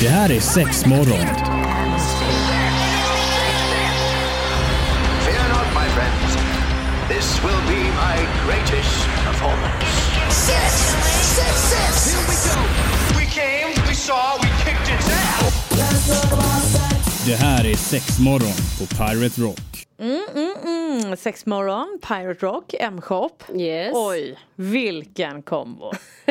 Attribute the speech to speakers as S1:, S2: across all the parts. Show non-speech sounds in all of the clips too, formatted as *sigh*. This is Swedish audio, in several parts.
S1: Det här är sex morgon.
S2: Fear not, my friends. This will be my greatest performance.
S3: Six, six, six. Here we go.
S2: We came, we saw, we kicked its ass.
S1: Det här är sex morgon på Pirate Rock.
S4: Mm, sex morgon, Pirate Rock, M-shop.
S5: Yes.
S4: Oj, vilken kombo.
S5: *laughs*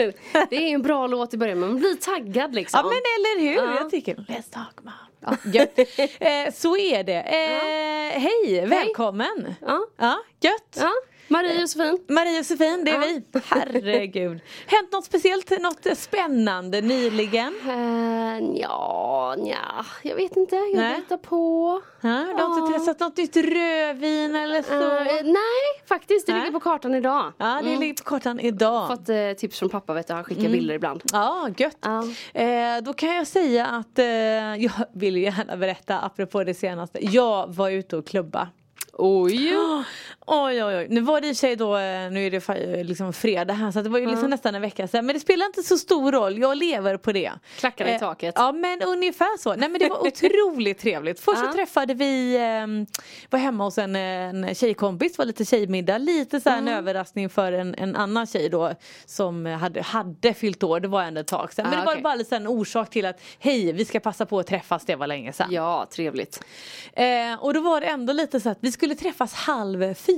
S5: Det är en bra låt i början, men man blir taggad liksom.
S4: Ja men eller hur, jag tycker Let's talk man. Ja,
S5: *laughs*
S4: gött. eh, så är det. Eh, Hej, välkommen.
S5: Ja.
S4: gött.
S5: Ja, Marie och Josefin.
S4: Marie och Josefin, det är
S5: Ja.
S4: vi.
S5: *laughs*
S4: Herregud. Hänt något speciellt, något spännande nyligen?
S5: Uh, ja, nja, jag vet inte. Jag
S4: Nej.
S5: letar på.
S4: Ja, du har inte
S5: Ja.
S4: testat något nytt rödvin eller så?
S5: Eh, nej, faktiskt. Det
S4: Nej.
S5: ligger på kartan idag.
S4: Ja, det ligger på kartan idag.
S5: Fått eh, tips från pappa, vet du. Han skickar bilder ibland.
S4: Ja, gött.
S5: Ja.
S4: Eh, då kan jag säga att eh, jag vill ju gärna berätta apropå det senaste. Jag var ute och klubba.
S5: Oj!
S4: Oj oj oj, nu var det i och för sig då, eh, nu är det fa- liksom fredag här så att det var ju liksom nästan en vecka sedan men det spelar inte så stor roll, jag lever på det. Eh,
S5: Klackarna i taket.
S4: Ja men ungefär så, nej men det var
S5: *laughs*
S4: otroligt trevligt. Först så
S5: Ja.
S4: träffade vi, ehm, var hemma hos en, en tjejkompis, var lite tjejmiddag, lite så här
S5: Mm.
S4: en överraskning för en, en annan tjej då som hade, hade fyllt år, det var ändå ett tag sedan. Men
S5: Ah,
S4: det var
S5: okej.
S4: bara lite så här en orsak till att hej vi ska passa på att träffas, det var länge sedan.
S5: Ja, trevligt.
S4: Eh, och då var det ändå lite så att vi skulle träffas halv fyra.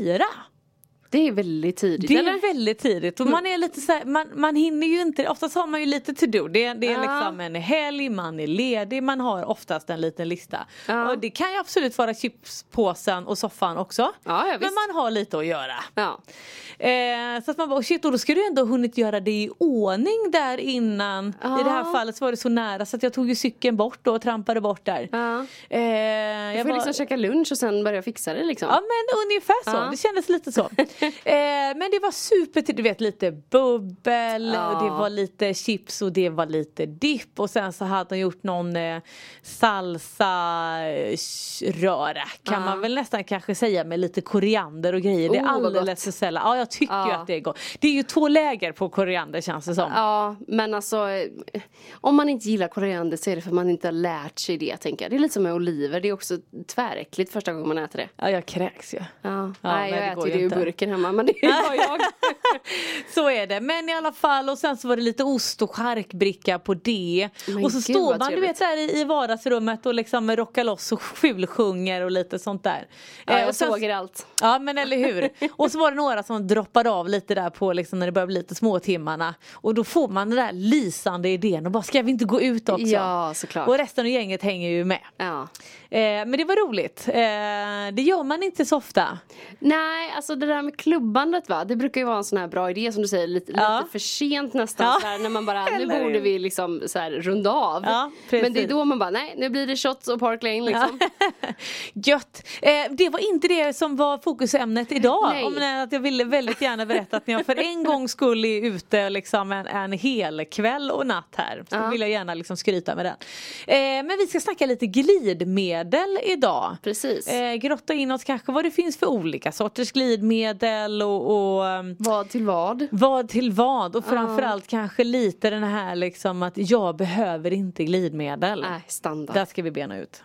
S5: Det Mm. är väldigt tidigt,
S4: Det
S5: eller?
S4: är väldigt tidigt och man är lite så här, man, man hinner ju inte, oftast har man ju lite to do. Det, det är
S5: Ja.
S4: liksom en helg, man är ledig, man har oftast en liten lista.
S5: Ja.
S4: Och det kan ju absolut vara chipspåsen och soffan också.
S5: Ja, ja,
S4: Men
S5: visst.
S4: man har lite att göra.
S5: Ja.
S4: Eh, så att man bara, oh shit, och då skulle du ändå ha hunnit göra det i ordning där innan. I det här
S5: Ja.
S4: fallet så var det så nära så att jag tog ju cykeln bort då och trampade bort där.
S5: Ja.
S4: Eh,
S5: Jag
S4: jag
S5: får
S4: bara-
S5: liksom käka lunch och sen börja fixa det liksom.
S4: Ja men ungefär så,
S5: Ja.
S4: det kändes lite
S5: *laughs*
S4: så. eh, men det var super, du vet lite bubbel,
S5: Ja.
S4: och det var lite chips och det var lite dipp och sen så hade de gjort någon eh, salsa-röra kan
S5: Ja.
S4: man väl nästan kanske säga med lite koriander och grejer. det är
S5: Oh, vad gott.
S4: alldeles för sällan, ja jag tycker ju
S5: Ja.
S4: att det är gott. Det är ju två läger på koriander känns det som.
S5: Ja, men alltså eh, om man inte gillar koriander så är det för att man inte har lärt sig det tänker jag. Det är lite som med oliver, det är också tväräckligt första gången man äter det.
S4: Ja jag kräks ju.
S5: Ja,
S4: Ja,
S5: nej,
S4: men
S5: jag
S4: det
S5: äter
S4: går
S5: ju
S4: ju
S5: det ur
S4: inte.
S5: burken hemma
S4: *laughs*
S5: men det är bara jag.
S4: Så är det. Men i alla fall och sen så var det lite ost och charkbricka på det.
S5: Men
S4: och så
S5: gud,
S4: står
S5: vad
S4: man du vet
S5: trevligt.
S4: där i, i vardagsrummet och liksom rockar loss och fulsjunger och lite sånt där.
S5: Ja,
S4: Eh,
S5: jag
S4: och sen-
S5: såg er allt.
S4: Ja men eller
S5: *laughs*
S4: hur. Och så var det några som droppade av lite där på liksom när det började bli lite småtimmarna. Och då får man den där lysande idén och bara ska vi inte gå ut också?
S5: Ja, såklart.
S4: Och resten av gänget hänger ju med.
S5: Ja.
S4: Eh, men det var roligt. Eh, det gör man inte så ofta.
S5: Nej, alltså det där med klubbandet va, det brukar ju vara en sån här bra idé som du säger, lite,
S4: Ja.
S5: lite för sent nästan
S4: Ja.
S5: så här, när
S4: *laughs*
S5: man bara, nu
S4: Eller hur?
S5: borde vi liksom så här runda av.
S4: Ja, precis.
S5: men det är då man bara, nej nu blir det shots och Park Lane liksom.
S4: *laughs* Gött! Eh, det var inte det som var fokusämnet idag.
S5: Nej.
S4: Om det är att jag ville väldigt gärna berätta att när jag för en gång skulle är ute liksom en, en hel kväll och natt här så
S5: Ja.
S4: vill jag gärna liksom skryta med den. Eh, men vi ska snacka lite glidmedel idag.
S5: Precis.
S4: Eh, grotta in oss kanske vad det finns för olika sorters glidmedel och, och ehm,
S5: Vad till vad?
S4: vad till vad och framförallt kanske lite den här liksom att jag behöver inte glidmedel.
S5: Nej, Äh, standard.
S4: Där ska vi bena ut.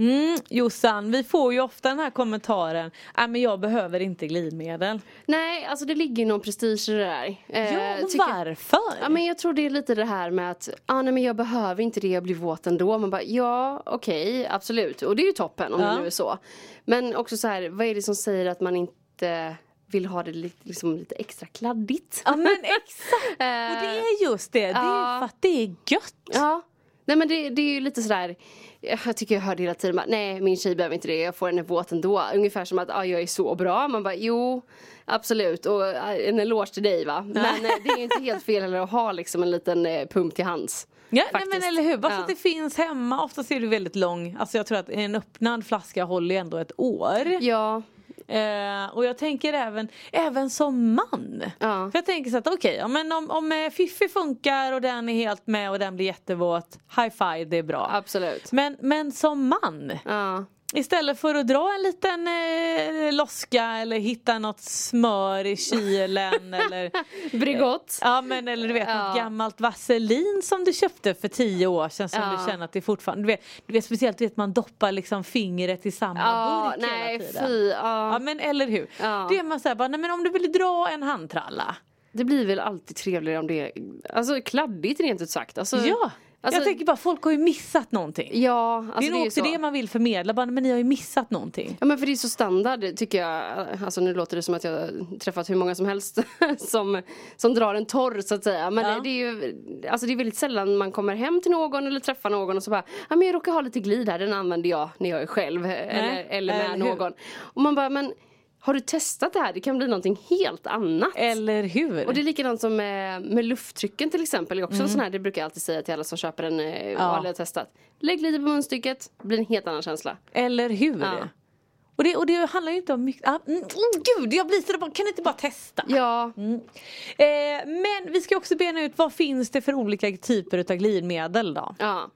S4: Mm, Jossan, vi får ju ofta den här kommentaren, nej men jag behöver inte glidmedel.
S5: Nej, alltså det ligger ju någon prestige i det där. Eh,
S4: ja, men
S5: tycker-
S4: varför?
S5: Ja men jag tror det är lite det här med att, ah, nej men jag behöver inte det, jag blir våt ändå. Man bara, ja okej, absolut. Och det är ju toppen om
S4: Ja.
S5: det nu är så. Men också så här, vad är det som säger att man inte vill ha det lite, liksom lite extra kladdigt?
S4: Ja, men exakt, och det
S5: Eh,
S4: är just det, det är ju
S5: ja.
S4: för att det är gött.
S5: Ja. Nej men det, det är ju lite sådär, jag tycker jag hör det hela tiden, bara, nej min tjej behöver inte det, jag får henne våt ändå. Ungefär som att, ah, jag är så bra. Man bara, jo absolut och ah, en eloge till dig va. Men eh, det är ju inte helt fel heller att ha liksom en liten eh, pump till hands.
S4: Ja, nej,
S5: Faktiskt.
S4: men eller hur, bara så
S5: Ja.
S4: att det finns hemma, ofta ser du väldigt lång, alltså jag tror att en öppnad flaska håller ju ändå ett år.
S5: Ja,
S4: Eh, och jag tänker även, även som man.
S5: Ja.
S4: För jag tänker så att okej, ja, men om, om eh, Fiffi funkar och den är helt med och den blir jättevåt, high five det är bra.
S5: absolut.
S4: Men, men som man,
S5: Ja.
S4: Istället för att dra en liten eh, loska eller hitta något smör i
S5: *laughs*
S4: kylen eller
S5: Brigott.
S4: Ja men eller du vet
S5: Ja.
S4: något gammalt vaselin som du köpte för tio år sedan som
S5: Ja.
S4: du känner att det fortfarande, du vet, du vet speciellt du vet man doppar liksom fingret i samma
S5: Ja,
S4: burk
S5: nej
S4: hela tiden.
S5: fy.
S4: Ja
S5: Ja.
S4: men eller hur.
S5: Ja.
S4: Det är man såhär bara, nej men om du vill dra en handtralla.
S5: Det blir väl alltid trevligare om det är alltså, kladdigt rent ut sagt. Alltså,
S4: ja.
S5: alltså-
S4: jag tänker bara folk har ju missat någonting.
S5: Ja, alltså,
S4: det
S5: det
S4: är nog
S5: ju
S4: också
S5: så.
S4: det man vill förmedla, bara, men ni har ju missat någonting.
S5: Ja men för det är så standard tycker jag. Alltså nu låter det som att jag har träffat hur många som helst *laughs* som, som drar en torr så att säga. Men
S4: Ja.
S5: det är ju alltså det är väldigt sällan man kommer hem till någon eller träffar någon och så bara ja men jag råkar ha lite glid här, den använder jag när jag är själv eller, eller med
S4: eller hur?
S5: någon. Och man bara men har du testat det här? Det kan bli någonting helt annat.
S4: Eller hur.
S5: Och det är likadant som med, med lufttrycken till exempel. Det är också
S4: Mm.
S5: en sån här, det brukar jag alltid säga till alla som köper en eh, och aldrig har testat. Lägg lite på munstycket, det blir en helt annan känsla.
S4: Eller hur.
S5: Ja.
S4: Och, det, och det handlar ju inte om mycket, ah, mm, oh, gud jag blir så bara, kan du inte bara testa? Mm.
S5: Ja,
S4: Eh, men vi ska också bena ut vad finns det för olika typer utav glidmedel då?
S5: Ja.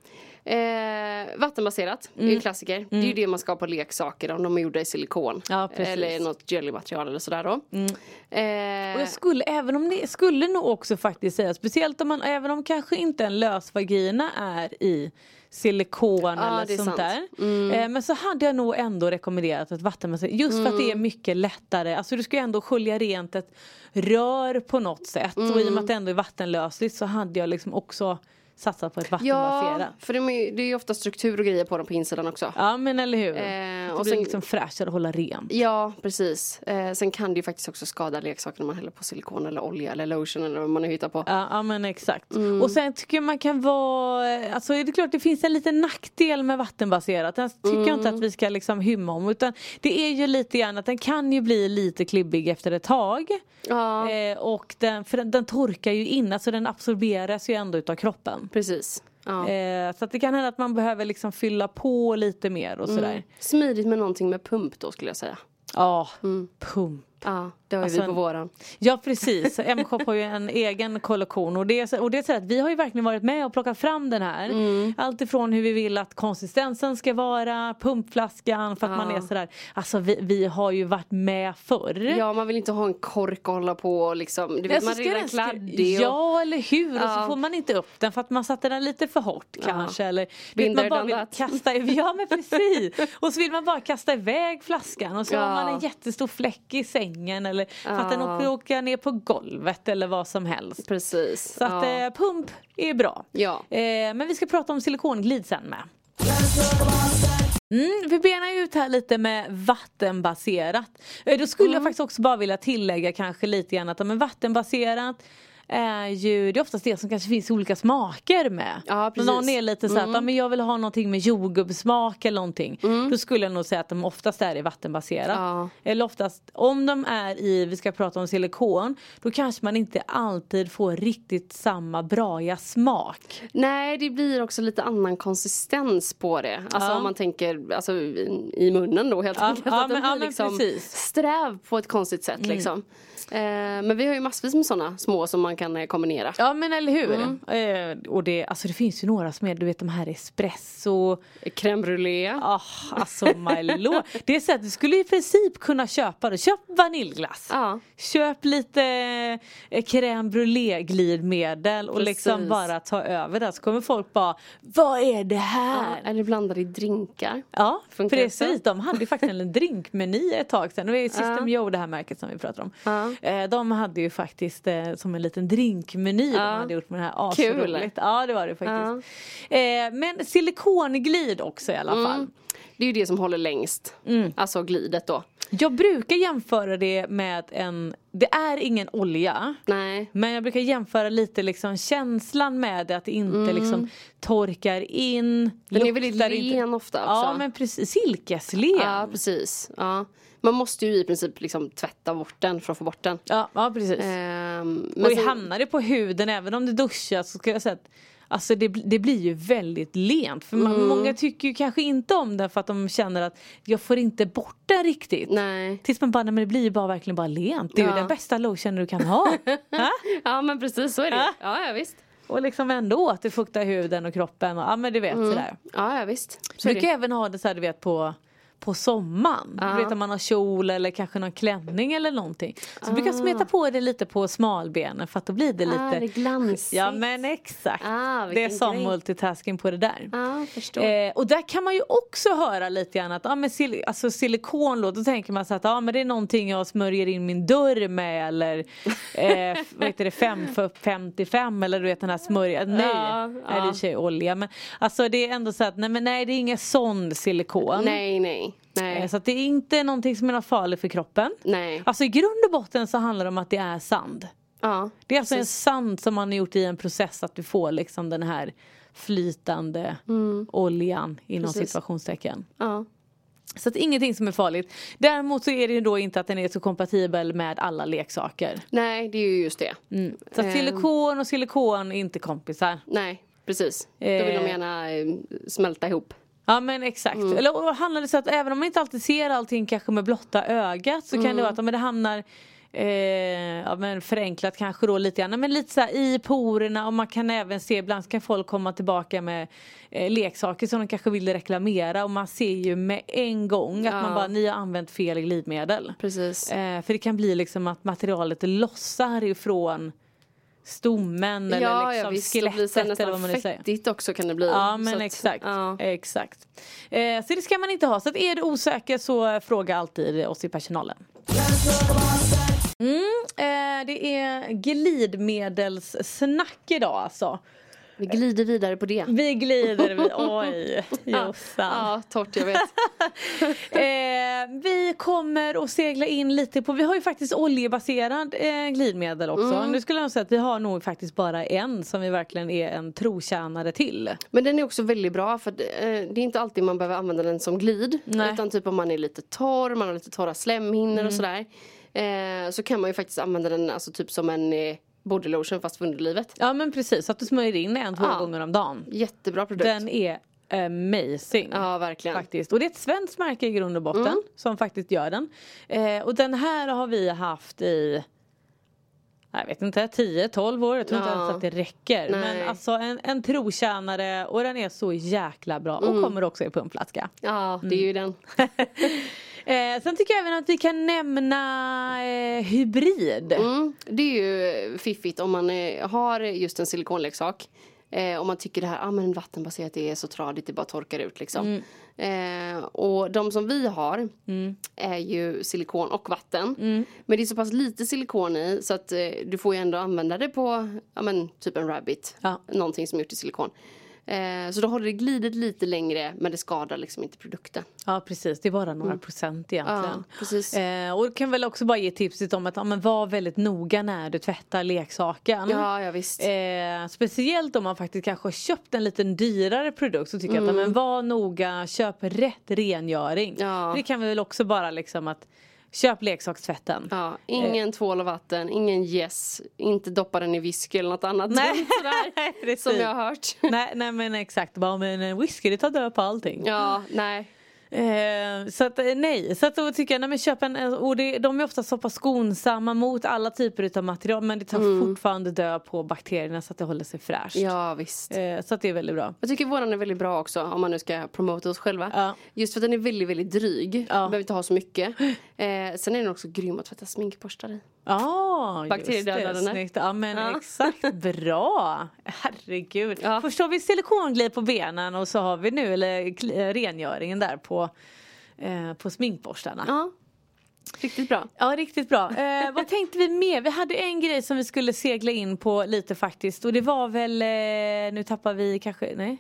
S5: Eh, vattenbaserat är
S4: Mm.
S5: ju en klassiker. Det är ju det man ska ha på leksaker om de är gjorda i silikon.
S4: Ja, precis. Mm.
S5: eller något jellymaterial eller sådär då.
S4: Och
S5: Eh,
S4: jag skulle, även om det skulle nog också faktiskt säga, speciellt om man, även om kanske inte en lös vagina är i silikon
S5: Ja,
S4: eller
S5: det är
S4: sånt
S5: sant. Mm.
S4: där. Eh, men så hade jag nog ändå rekommenderat ett vattenbaserat, just för att det är
S5: Mm.
S4: mycket lättare. Alltså du ska ju ändå skölja rent ett rör på något sätt och i och med
S5: Mm.
S4: att det ändå är vattenlösligt så hade jag liksom också satsat på ett
S5: ja,
S4: vattenbaserat. Ja,
S5: för de är, ju- det är ju ofta struktur och grejer på dem på insidan också.
S4: men eller hur.
S5: Eh,
S4: det
S5: och
S4: blir
S5: sen-
S4: liksom fräschare att hålla rent.
S5: Ja, precis. Eh, sen kan det ju faktiskt också skada leksaker när man häller på silikon eller olja eller lotion eller vad man nu hittar på.
S4: Ja, ja men exakt.
S5: Mm.
S4: Och sen tycker jag man kan vara, alltså är det är klart det finns en liten nackdel med vattenbaserat. Den tycker jag
S5: Mm.
S4: inte att vi ska liksom hymma om. Utan det är ju lite grann att den kan ju bli lite klibbig efter ett tag.
S5: Ja,
S4: Eh, och den, för den, den torkar ju in, alltså den absorberas ju ändå utav kroppen.
S5: precis. Ja.
S4: Eh, så att det kan hända att man behöver liksom fylla på lite mer
S5: Mm.
S4: och sådär.
S5: Smidigt med någonting med pump då skulle jag säga.
S4: Ja,
S5: Mm.
S4: pump.
S5: Ja, det har ju
S4: Alltså
S5: vi på
S4: en-
S5: våran.
S4: Ja precis, M-shop har ju en egen kollektion och det, är så- och det är så att vi har ju verkligen varit med och plockat fram den här. Allt ifrån hur vi vill att konsistensen ska vara, pumpflaskan för att man är sådär. Alltså vi, vi har ju varit med förr.
S5: Ja, man vill inte ha en kork och hålla på och liksom. Du
S4: Ja,
S5: vet,
S4: så
S5: man är
S4: Alltså, ska
S5: redan
S4: den skru-
S5: kladdig. och-
S4: Ja eller hur och
S5: Ja.
S4: så får man inte upp den för att man satte den lite för hårt kanske eller vet,
S5: Binder
S4: man bara
S5: done
S4: vill
S5: that.
S4: kasta i- Ja men precis och så vill man bara kasta iväg flaskan och så
S5: Ja.
S4: har man en jättestor fläck i sängen eller för att den
S5: Ja.
S4: åker åka ner på golvet eller vad som helst.
S5: Precis.
S4: Så att eh, pump är bra.
S5: Ja.
S4: Eh, men vi ska prata om silikonglid sen med. Mm, vi benar ut här lite med vattenbaserat. Eh, Då skulle
S5: Mm.
S4: jag faktiskt också bara vilja tillägga kanske lite grann att ja, men vattenbaserat är ju det är oftast det som kanske finns i olika smaker med.
S5: Ja, precis.
S4: Någon är lite så här att ja, men jag vill ha någonting med jordgubbssmak eller någonting. Då skulle jag nog säga att de oftast är i vattenbaserat.
S5: Ja.
S4: Eller oftast om de är i, vi ska prata om silikon, då kanske man inte alltid får riktigt samma braiga smak.
S5: Nej, det blir också lite annan konsistens på det. Alltså
S4: Ja.
S5: om man tänker alltså, i i munnen då helt
S4: Ja,
S5: enkelt.
S4: ja,
S5: att den
S4: men- ja,
S5: blir
S4: men
S5: liksom
S4: precis. Mm.
S5: sträv på ett konstigt sätt liksom. Eh, men vi har ju massvis med sådana små som man kan eh, kombinera.
S4: Ja men eller hur. Eh, och det, alltså det finns ju några som är, du vet de här espresso,
S5: Crème brûlée. Ja.
S4: ah, alltså *laughs* my lord. Det är så att du skulle i princip kunna köpa det. Köp vaniljglass. Köp lite eh, crème brûlée glidmedel och liksom
S5: Precis.
S4: bara ta över det. Så kommer folk bara, vad är det här?
S5: Eller blandade i drinkar.
S4: Ja,
S5: Funkar
S4: precis.
S5: också.
S4: De hade ju faktiskt en drinkmeny ett tag sedan. Det var ju System Joe det här märket som vi pratar om.
S5: Ja.
S4: Eh, De hade ju faktiskt eh, som en liten drinkmeny de hade gjort med det här.
S5: Kul.
S4: Asroligt. Ja det var det faktiskt. Eh, Men silikonglid också i alla
S5: Mm.
S4: fall.
S5: Det är ju det som håller längst.
S4: Mm.
S5: Alltså glidet då.
S4: Jag brukar jämföra det med en, det är ingen olja.
S5: Nej.
S4: Men jag brukar jämföra lite liksom känslan med det, att det inte liksom torkar in.
S5: Den Mm. är väldigt
S4: luktar inte-
S5: len ofta också.
S4: Ja men precis, silkeslen.
S5: Ja, precis. Ja. Man måste ju i princip liksom tvätta bort den för att få bort den.
S4: Ja, ja precis.
S5: Ehm,
S4: och
S5: men sen-
S4: hamnar det på huden även om det duschas så ska jag säga att Alltså det, bl- det blir ju väldigt lent för
S5: Mm.
S4: man, många tycker ju kanske inte om det för att de känner att jag får inte bort den riktigt.
S5: Nej.
S4: Tills man bara, nej, men det blir ju bara verkligen bara lent. Det är
S5: Ja.
S4: ju den bästa lotionen du kan
S5: *laughs*
S4: ha. Ha?
S5: Ja men precis så är det. Ja, ja visst.
S4: och liksom ändå
S5: Mm.
S4: återfukta huden och kroppen och ja men du vet sådär.
S5: Ja, ja visst. Så är
S4: Du kan
S5: det.
S4: även ha det såhär du vet på på sommaren.
S5: Ja.
S4: Du vet om man har kjol eller kanske någon klänning eller någonting. Så brukar jag smeta på det lite på smalbenen för att då blir det lite...
S5: Ah, det är glansigt.
S4: Ja men exakt.
S5: Ah,
S4: det är
S5: vilken
S4: som
S5: grej. Ah.
S4: multitasking på det där.
S5: Ja, förstår.
S4: Eh, och där kan man ju också höra lite grann att ah, men sil- alltså silikon låter, då tänker man så att ah, men det är någonting jag smörjer in min dörr med
S5: *laughs*
S4: eller eh, f- vad heter det 5 för 55 eller du vet den här smörja, nej,
S5: Ja,
S4: nej det
S5: ja.
S4: är i och för sig olja men alltså det är ändå så att nej men nej det är ingen sån silikon.
S5: nej, nej, nej.
S4: Eh, Så att det är inte någonting som är något farligt för kroppen.
S5: nej.
S4: Alltså i grund och botten så handlar det om att det är sand.
S5: Ja.
S4: Det är alltså en sand som man har gjort i en process att du får liksom den här flytande oljan inom
S5: Precis.
S4: situationstecken.
S5: ja.
S4: Så att ingenting som är farligt. Däremot så är det ju då inte att den är så kompatibel med alla leksaker.
S5: Nej, det är ju just det.
S4: Mm. Så att
S5: Eh.
S4: silikon och silikon är inte kompisar.
S5: Nej, precis. Då vill
S4: Eh.
S5: de gärna eh, smälta ihop.
S4: Ja men exakt.
S5: Mm.
S4: Eller och handlar det så att även om man inte alltid ser allting kanske med blotta ögat så
S5: Mm.
S4: kan det vara att ja, men det hamnar Eh, ja, men förenklat kanske då lite grann. Men lite så här i porerna och man kan även se ibland kan folk komma tillbaka med eh, leksaker som de kanske vill reklamera och man ser ju med en gång att man
S5: Ja.
S4: bara ni har använt fel glidmedel.
S5: Precis.
S4: Eh, för det kan bli liksom att materialet lossar ifrån stommen eller liksom
S5: det blir så här
S4: skelettet eller vad man nu
S5: nästan
S4: säger.
S5: fettigt också kan det bli.
S4: Ja
S5: Så
S4: men
S5: att-
S4: exakt.
S5: Ja.
S4: exakt. Eh, så det ska man inte ha. Så att är du osäker så eh, fråga alltid oss i personalen. Mm, eh, det är glidmedelssnack idag alltså.
S5: Vi glider vidare på det.
S4: Vi glider, vi, *laughs* oj Jossan.
S5: Ja, torrt jag vet.
S4: *laughs* Eh, vi kommer att segla in lite på, vi har ju faktiskt oljebaserad eh, glidmedel också. Nu skulle jag säga att vi har nog faktiskt bara en som vi verkligen är en trotjänare till.
S5: Men den är också väldigt bra för det, eh, det är inte alltid man behöver använda den som glid.
S4: Nej. Mm.
S5: Utan typ om man är lite torr, man har lite torra slemhinnor och sådär. Eh, så kan man ju faktiskt använda den alltså typ som en eh, bodylotion fast för underlivet.
S4: Ja men precis, så att du smörjer in en två
S5: Ja.
S4: gånger om dagen.
S5: Jättebra produkt.
S4: Den är amazing.
S5: Ja, verkligen. Mm.
S4: Faktiskt. Och det är ett svenskt märke i grund och botten som faktiskt gör den. Eh, och den här har vi haft i jag vet inte, 10-12 år. Jag tror inte
S5: Ja.
S4: ens att det räcker.
S5: Nej.
S4: Men alltså en, en trotjänare och den är så jäkla bra.
S5: Mm.
S4: Och kommer också i pumpflaska. *laughs*
S5: Ja, det
S4: Mm.
S5: är ju den.
S4: eh, sen tycker jag även att vi kan nämna eh, hybrid.
S5: Mm, det är ju fiffigt om man eh, har just en silikonleksak. Eh, om man tycker det här, ah, men vattenbaserat det är så tradigt, det bara torkar ut liksom.
S4: Mm.
S5: Eh, och de som vi har är ju silikon och vatten.
S4: Mm.
S5: Men det är så pass lite silikon i så att eh, du får ju ändå använda det på, ja men typ en rabbit.
S4: Ja.
S5: Någonting som är gjort i silikon. Eh, så då har det glidit lite längre men det skadar liksom inte produkten.
S4: Ja precis, det är bara några procent egentligen.
S5: Mm. Ja, precis.
S4: Eh, och kan väl också bara ge tipset om att ja, men var väldigt noga när du tvättar leksaken.
S5: Ja, ja visst.
S4: Eh, speciellt om man faktiskt kanske har köpt en lite dyrare produkt så tycker jag att ja, men var noga, köp rätt rengöring.
S5: Mm. Ja.
S4: Det kan vi väl också bara liksom att köp leksakstvätten.
S5: Ja, ingen tvål och vatten, ingen gäss, inte doppa den i whisky eller något annat dumt *laughs* sådär,
S4: precis.
S5: som jag har hört.
S4: *laughs*
S5: *laughs*
S4: nej, nej men exakt, bara men eh, whisky det tar död på allting.
S5: Ja, nej.
S4: Eh, så att eh, nej, så att då tycker jag nej men köp en, eh, och det, de är ofta så pass skonsamma mot alla typer utav material men det tar fortfarande död på bakterierna så att det håller sig fräscht.
S5: Mm. Ja, visst.
S4: Eh, så att det är väldigt bra.
S5: Jag tycker våran är väldigt bra också om man nu ska promota oss själva.
S4: Ja.
S5: Just för att den är väldigt, väldigt dryg. Du behöver inte ha så *gasps* mycket. Eh, sen är den också grym att tvätta sminkborstar i.
S4: Ja,
S5: Bakteriedödaren
S4: just det.
S5: här.
S4: Snyggt. Ja men
S5: Ja.
S4: exakt, bra! Herregud.
S5: Ja.
S4: Först har vi silikonglid på benen och så har vi nu eller, kli- eh, rengöringen där på, eh, på sminkborstarna.
S5: Ja, Ah. riktigt bra.
S4: Ja, riktigt bra. Eh, vad tänkte vi mer? Vi hade en grej som vi skulle segla in på lite faktiskt och det var väl, eh, nu tappar vi kanske, nej?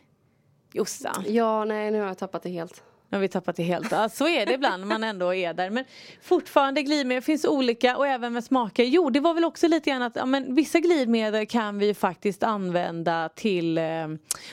S4: Jossan,
S5: Ja, nej nu har jag tappat det helt.
S4: nu har vi tappat det helt. Ja, så är det ibland när man ändå är där. Men fortfarande glidmedel finns olika och även med smaker. Jo, det var väl också lite grann att ja, men vissa glidmedel kan vi ju faktiskt använda till eh,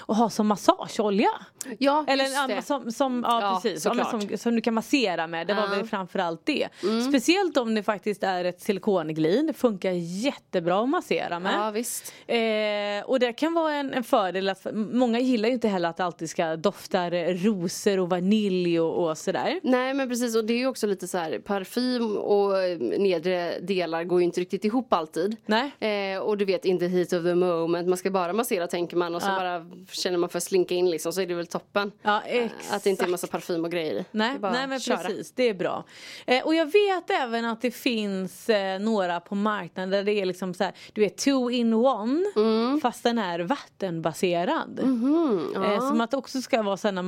S4: att ha som massageolja.
S5: Ja,
S4: Eller
S5: just
S4: ja, men
S5: det.
S4: som, som, ja,
S5: Ja,
S4: precis, ja, men
S5: såklart.
S4: som, som du kan massera med. Det var
S5: Ja. Mm.
S4: väl framförallt det. Speciellt om det faktiskt är ett silikonglid. Det funkar jättebra att massera med.
S5: Ja, visst.
S4: Eh, och det kan vara en, en fördel att många gillar ju inte heller att det alltid ska dofta eh, rosor och vanilj billig och, och sådär.
S5: Nej men precis och det är ju också lite så här parfym och eh, nedre delar går ju inte riktigt ihop alltid.
S4: Nej.
S5: Eh, och du vet in the heat of the moment, man ska bara massera tänker man och så
S4: Ja.
S5: bara känner man för att slinka in liksom så är det väl toppen.
S4: Ja,
S5: Eh, Att det inte är massa parfym och grejer i. Det
S4: Nej,
S5: är bara
S4: nej men
S5: att köra.
S4: precis, det är bra. Eh, och jag vet även att det finns eh, några på marknaden där det är liksom så här, du är two in one
S5: Mm.
S4: fast den är vattenbaserad.
S5: Mm-hmm.
S4: eh, som att det också ska vara sådana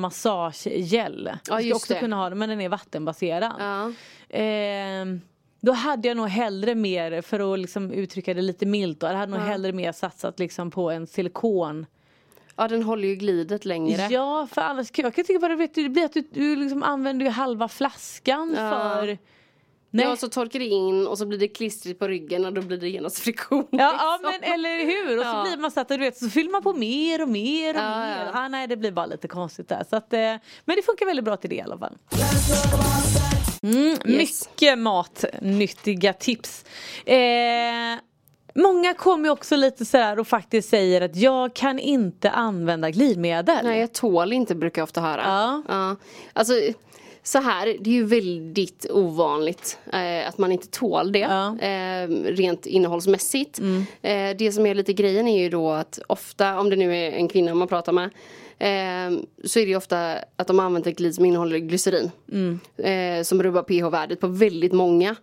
S4: massagegel.
S5: Ja,
S4: du ska
S5: just
S4: också
S5: det.
S4: kunna ha den men den är vattenbaserad.
S5: Ja.
S4: Eh, då hade jag nog hellre mer, för att liksom uttrycka det lite milt, då, jag hade nog hellre mer satsat liksom på en silikon
S5: ja den håller ju glidet längre.
S4: Ja, för annars kan jag kan tycka bara, vet du, det blir att du, du liksom använder ju halva flaskan
S5: Ja.
S4: för... Nej.
S5: Ja, så torkar det in och så blir det klistrigt på ryggen och då blir det genast friktion.
S4: Ja, ja
S5: liksom.
S4: men eller hur! Och så
S5: Ja.
S4: blir man så att du vet så fyller man på mer och mer och
S5: Ja,
S4: mer.
S5: ja.
S4: Ah, nej det blir bara lite konstigt där. Så att, eh, men det funkar väldigt bra till det i alla fall. Mm,
S5: Yes.
S4: Mycket matnyttiga tips. Eh, Många kommer ju också lite sådär och faktiskt säger att jag kan inte använda glidmedel.
S5: Nej, jag tål inte brukar jag ofta höra.
S4: Ja.
S5: Alltså, så här, det är ju väldigt ovanligt eh, att man inte tål det
S4: Ja.
S5: eh, rent innehållsmässigt. Eh, det som är lite grejen är ju då att ofta, om det nu är en kvinna man pratar med eh, så är det ju ofta att de använder glid som innehåller glycerin eh, som rubbar pH-värdet på väldigt många.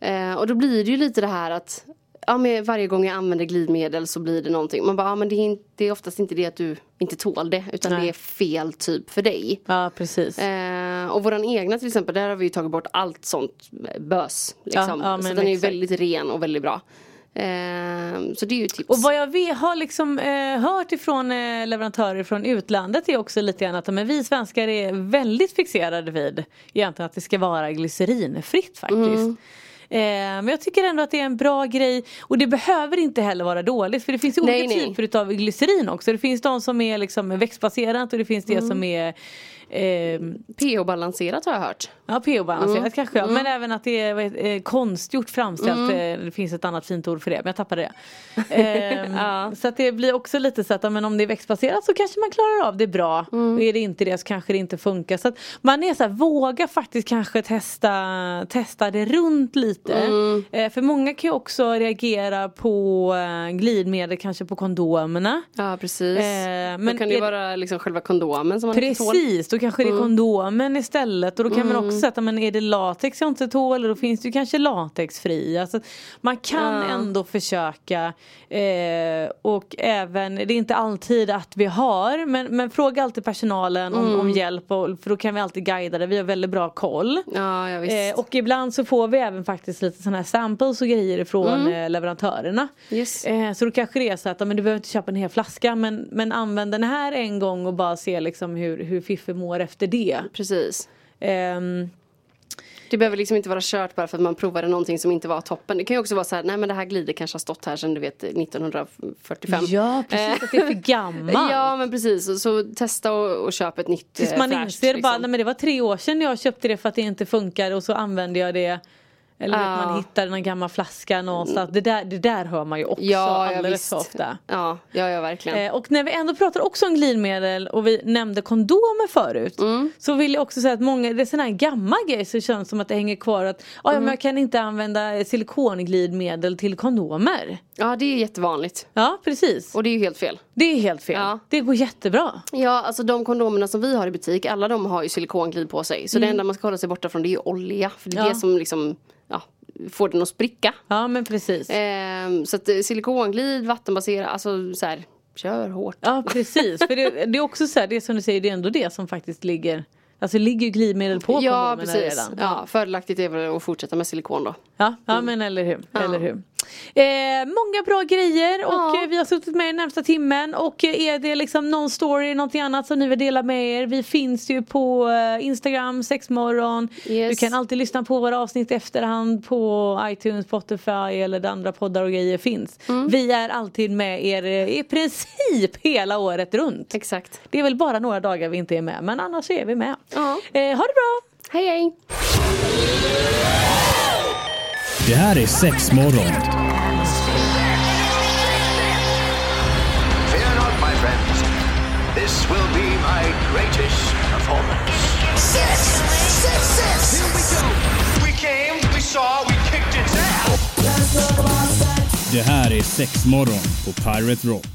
S5: Eh, och då blir det ju lite det här att ja, men varje gång jag använder glidmedel så blir det någonting. Man bara, ja, men det är, inte, det är oftast inte det att du inte tål det utan
S4: Nej.
S5: det är fel typ för dig.
S4: Ja precis.
S5: Eh, och våran egna till exempel, där har vi ju tagit bort allt sånt bös.
S4: Ja,
S5: Liksom.
S4: ja,
S5: så
S4: men
S5: den är ju
S4: exakt.
S5: väldigt ren och väldigt bra. Eh, så det är ju ett tips.
S4: Och vad jag vet, har liksom, eh, hört ifrån eh, leverantörer från utlandet är också lite grann att men vi svenskar är väldigt fixerade vid egentligen att det ska vara glycerinfritt faktiskt.
S5: Mm.
S4: Eh, men jag tycker ändå att det är en bra grej och det behöver inte heller vara dåligt för det finns ju olika
S5: Nej, nej.
S4: typer utav glycerin också. Det finns de som är liksom växtbaserat och det finns
S5: Mm.
S4: det som är ehm,
S5: PH-balanserat har jag hört.
S4: Ja, PO-balanserat kanske. ja. Men även att det är vad heter- eh, konstgjort framställt. eh, Det finns ett annat fint ord för det, men jag tappade det. Ehm, Så att det blir också lite så att ja, men om det är växtbaserat så kanske man klarar av det bra. Och är det inte det så kanske det inte funkar. Så att man är så här, våga faktiskt kanske testa, testa det runt lite. Eh, För många kan ju också reagera på eh, glidmedel, kanske på kondomerna.
S5: Ja, precis.
S4: Eh, men
S5: men kan
S4: är-
S5: det ju vara liksom själva kondomen som man inte tål. Mm.
S4: Precis, då kanske det är kondomen istället. Och då kan man också säga att men är det latex jag inte tål då finns det ju kanske latexfri. Alltså, man kan ändå försöka eh, och även, det är inte alltid att vi har men, men fråga alltid personalen om,
S5: Mm.
S4: om hjälp och, för då kan vi alltid guida det. Vi har väldigt bra koll.
S5: Ja, ja visst.
S4: Eh, och ibland så får vi även faktiskt lite sådana här samples och grejer ifrån eh, leverantörerna.
S5: Mm. Yes.
S4: Eh, så då kanske det är så att ja, men du behöver inte köpa en hel flaska men, men använd den här en gång och bara se liksom hur, hur Fiffi mår efter det.
S5: Precis.
S4: Ehm,
S5: Det behöver liksom inte vara kört bara för att man provade någonting som inte var toppen. Det kan ju också vara så här, nej men det här glidet kanske har stått här sedan du vet 1945.
S4: ja precis, att det
S5: *laughs*
S4: är för gammalt.
S5: Eh. Ja men precis, så, så testa och, och köp ett nytt
S4: Tills
S5: eh,
S4: man
S5: fräscht,
S4: inser bara,
S5: liksom.
S4: nej men det var tre år sedan jag köpte det för att det inte funkar och så använde jag det. Eller
S5: Ja.
S4: att man hittar någon gammal flaska någonstans. Det där, det där hör man ju också
S5: Mm. ja, ja,
S4: alldeles
S5: visst.
S4: för ofta.
S5: Ja, ja, ja verkligen.
S4: Eh, och när vi ändå pratar också om glidmedel och vi nämnde kondomer förut.
S5: Mm.
S4: Så vill jag också säga att många, det är sådana här gamla grejer som känns som att det hänger kvar att "Ah,
S5: Mm.
S4: ja, men jag kan inte använda eh, silikonglidmedel till kondomer.
S5: Ja det är jättevanligt.
S4: Ja precis.
S5: Och det är ju helt fel.
S4: det är helt fel.
S5: Ja.
S4: Det går jättebra.
S5: Ja alltså de kondomerna som vi har i butik, alla de har ju silikonglid på sig. Så det enda man ska hålla sig borta från det är ju olja. För det är
S4: Ja.
S5: det som liksom ja, får den att spricka.
S4: Ja men precis.
S5: Ehm, så att eh, silikonglid, vattenbaserat, alltså så här, kör hårt.
S4: Ja precis. För det, det är också så här, det som du säger, det är ändå det som faktiskt ligger Alltså ligger ju glidmedel på
S5: Ja
S4: kondomerna
S5: precis.
S4: redan.
S5: Ja, fördelaktigt är väl att fortsätta med silikon då.
S4: Ja, ja
S5: Mm.
S4: men eller hur. Eller hur. Eh, många bra grejer och
S5: Ja.
S4: eh, vi har suttit med i närmsta timmen och eh, är det liksom någon story, någonting annat som ni vill dela med er. Vi finns ju på eh, Instagram, sexmorgon.
S5: Yes.
S4: Du kan alltid lyssna på våra avsnitt i efterhand på iTunes, Spotify eller där andra poddar och grejer finns.
S5: Mm.
S4: Vi är alltid med er eh, i princip hela året runt.
S5: Exakt.
S4: Det är väl bara några dagar vi inte är med men annars så är vi med.
S5: Ja.
S4: Eh, ha det bra!
S5: Hej hej!
S1: Det här är sex morgon.
S2: Fear not, my friends. This will be my greatest performance.
S3: Six,
S2: We came, we saw, we kicked its ass.
S1: Det här är Sexmorgon på Pirate Rock.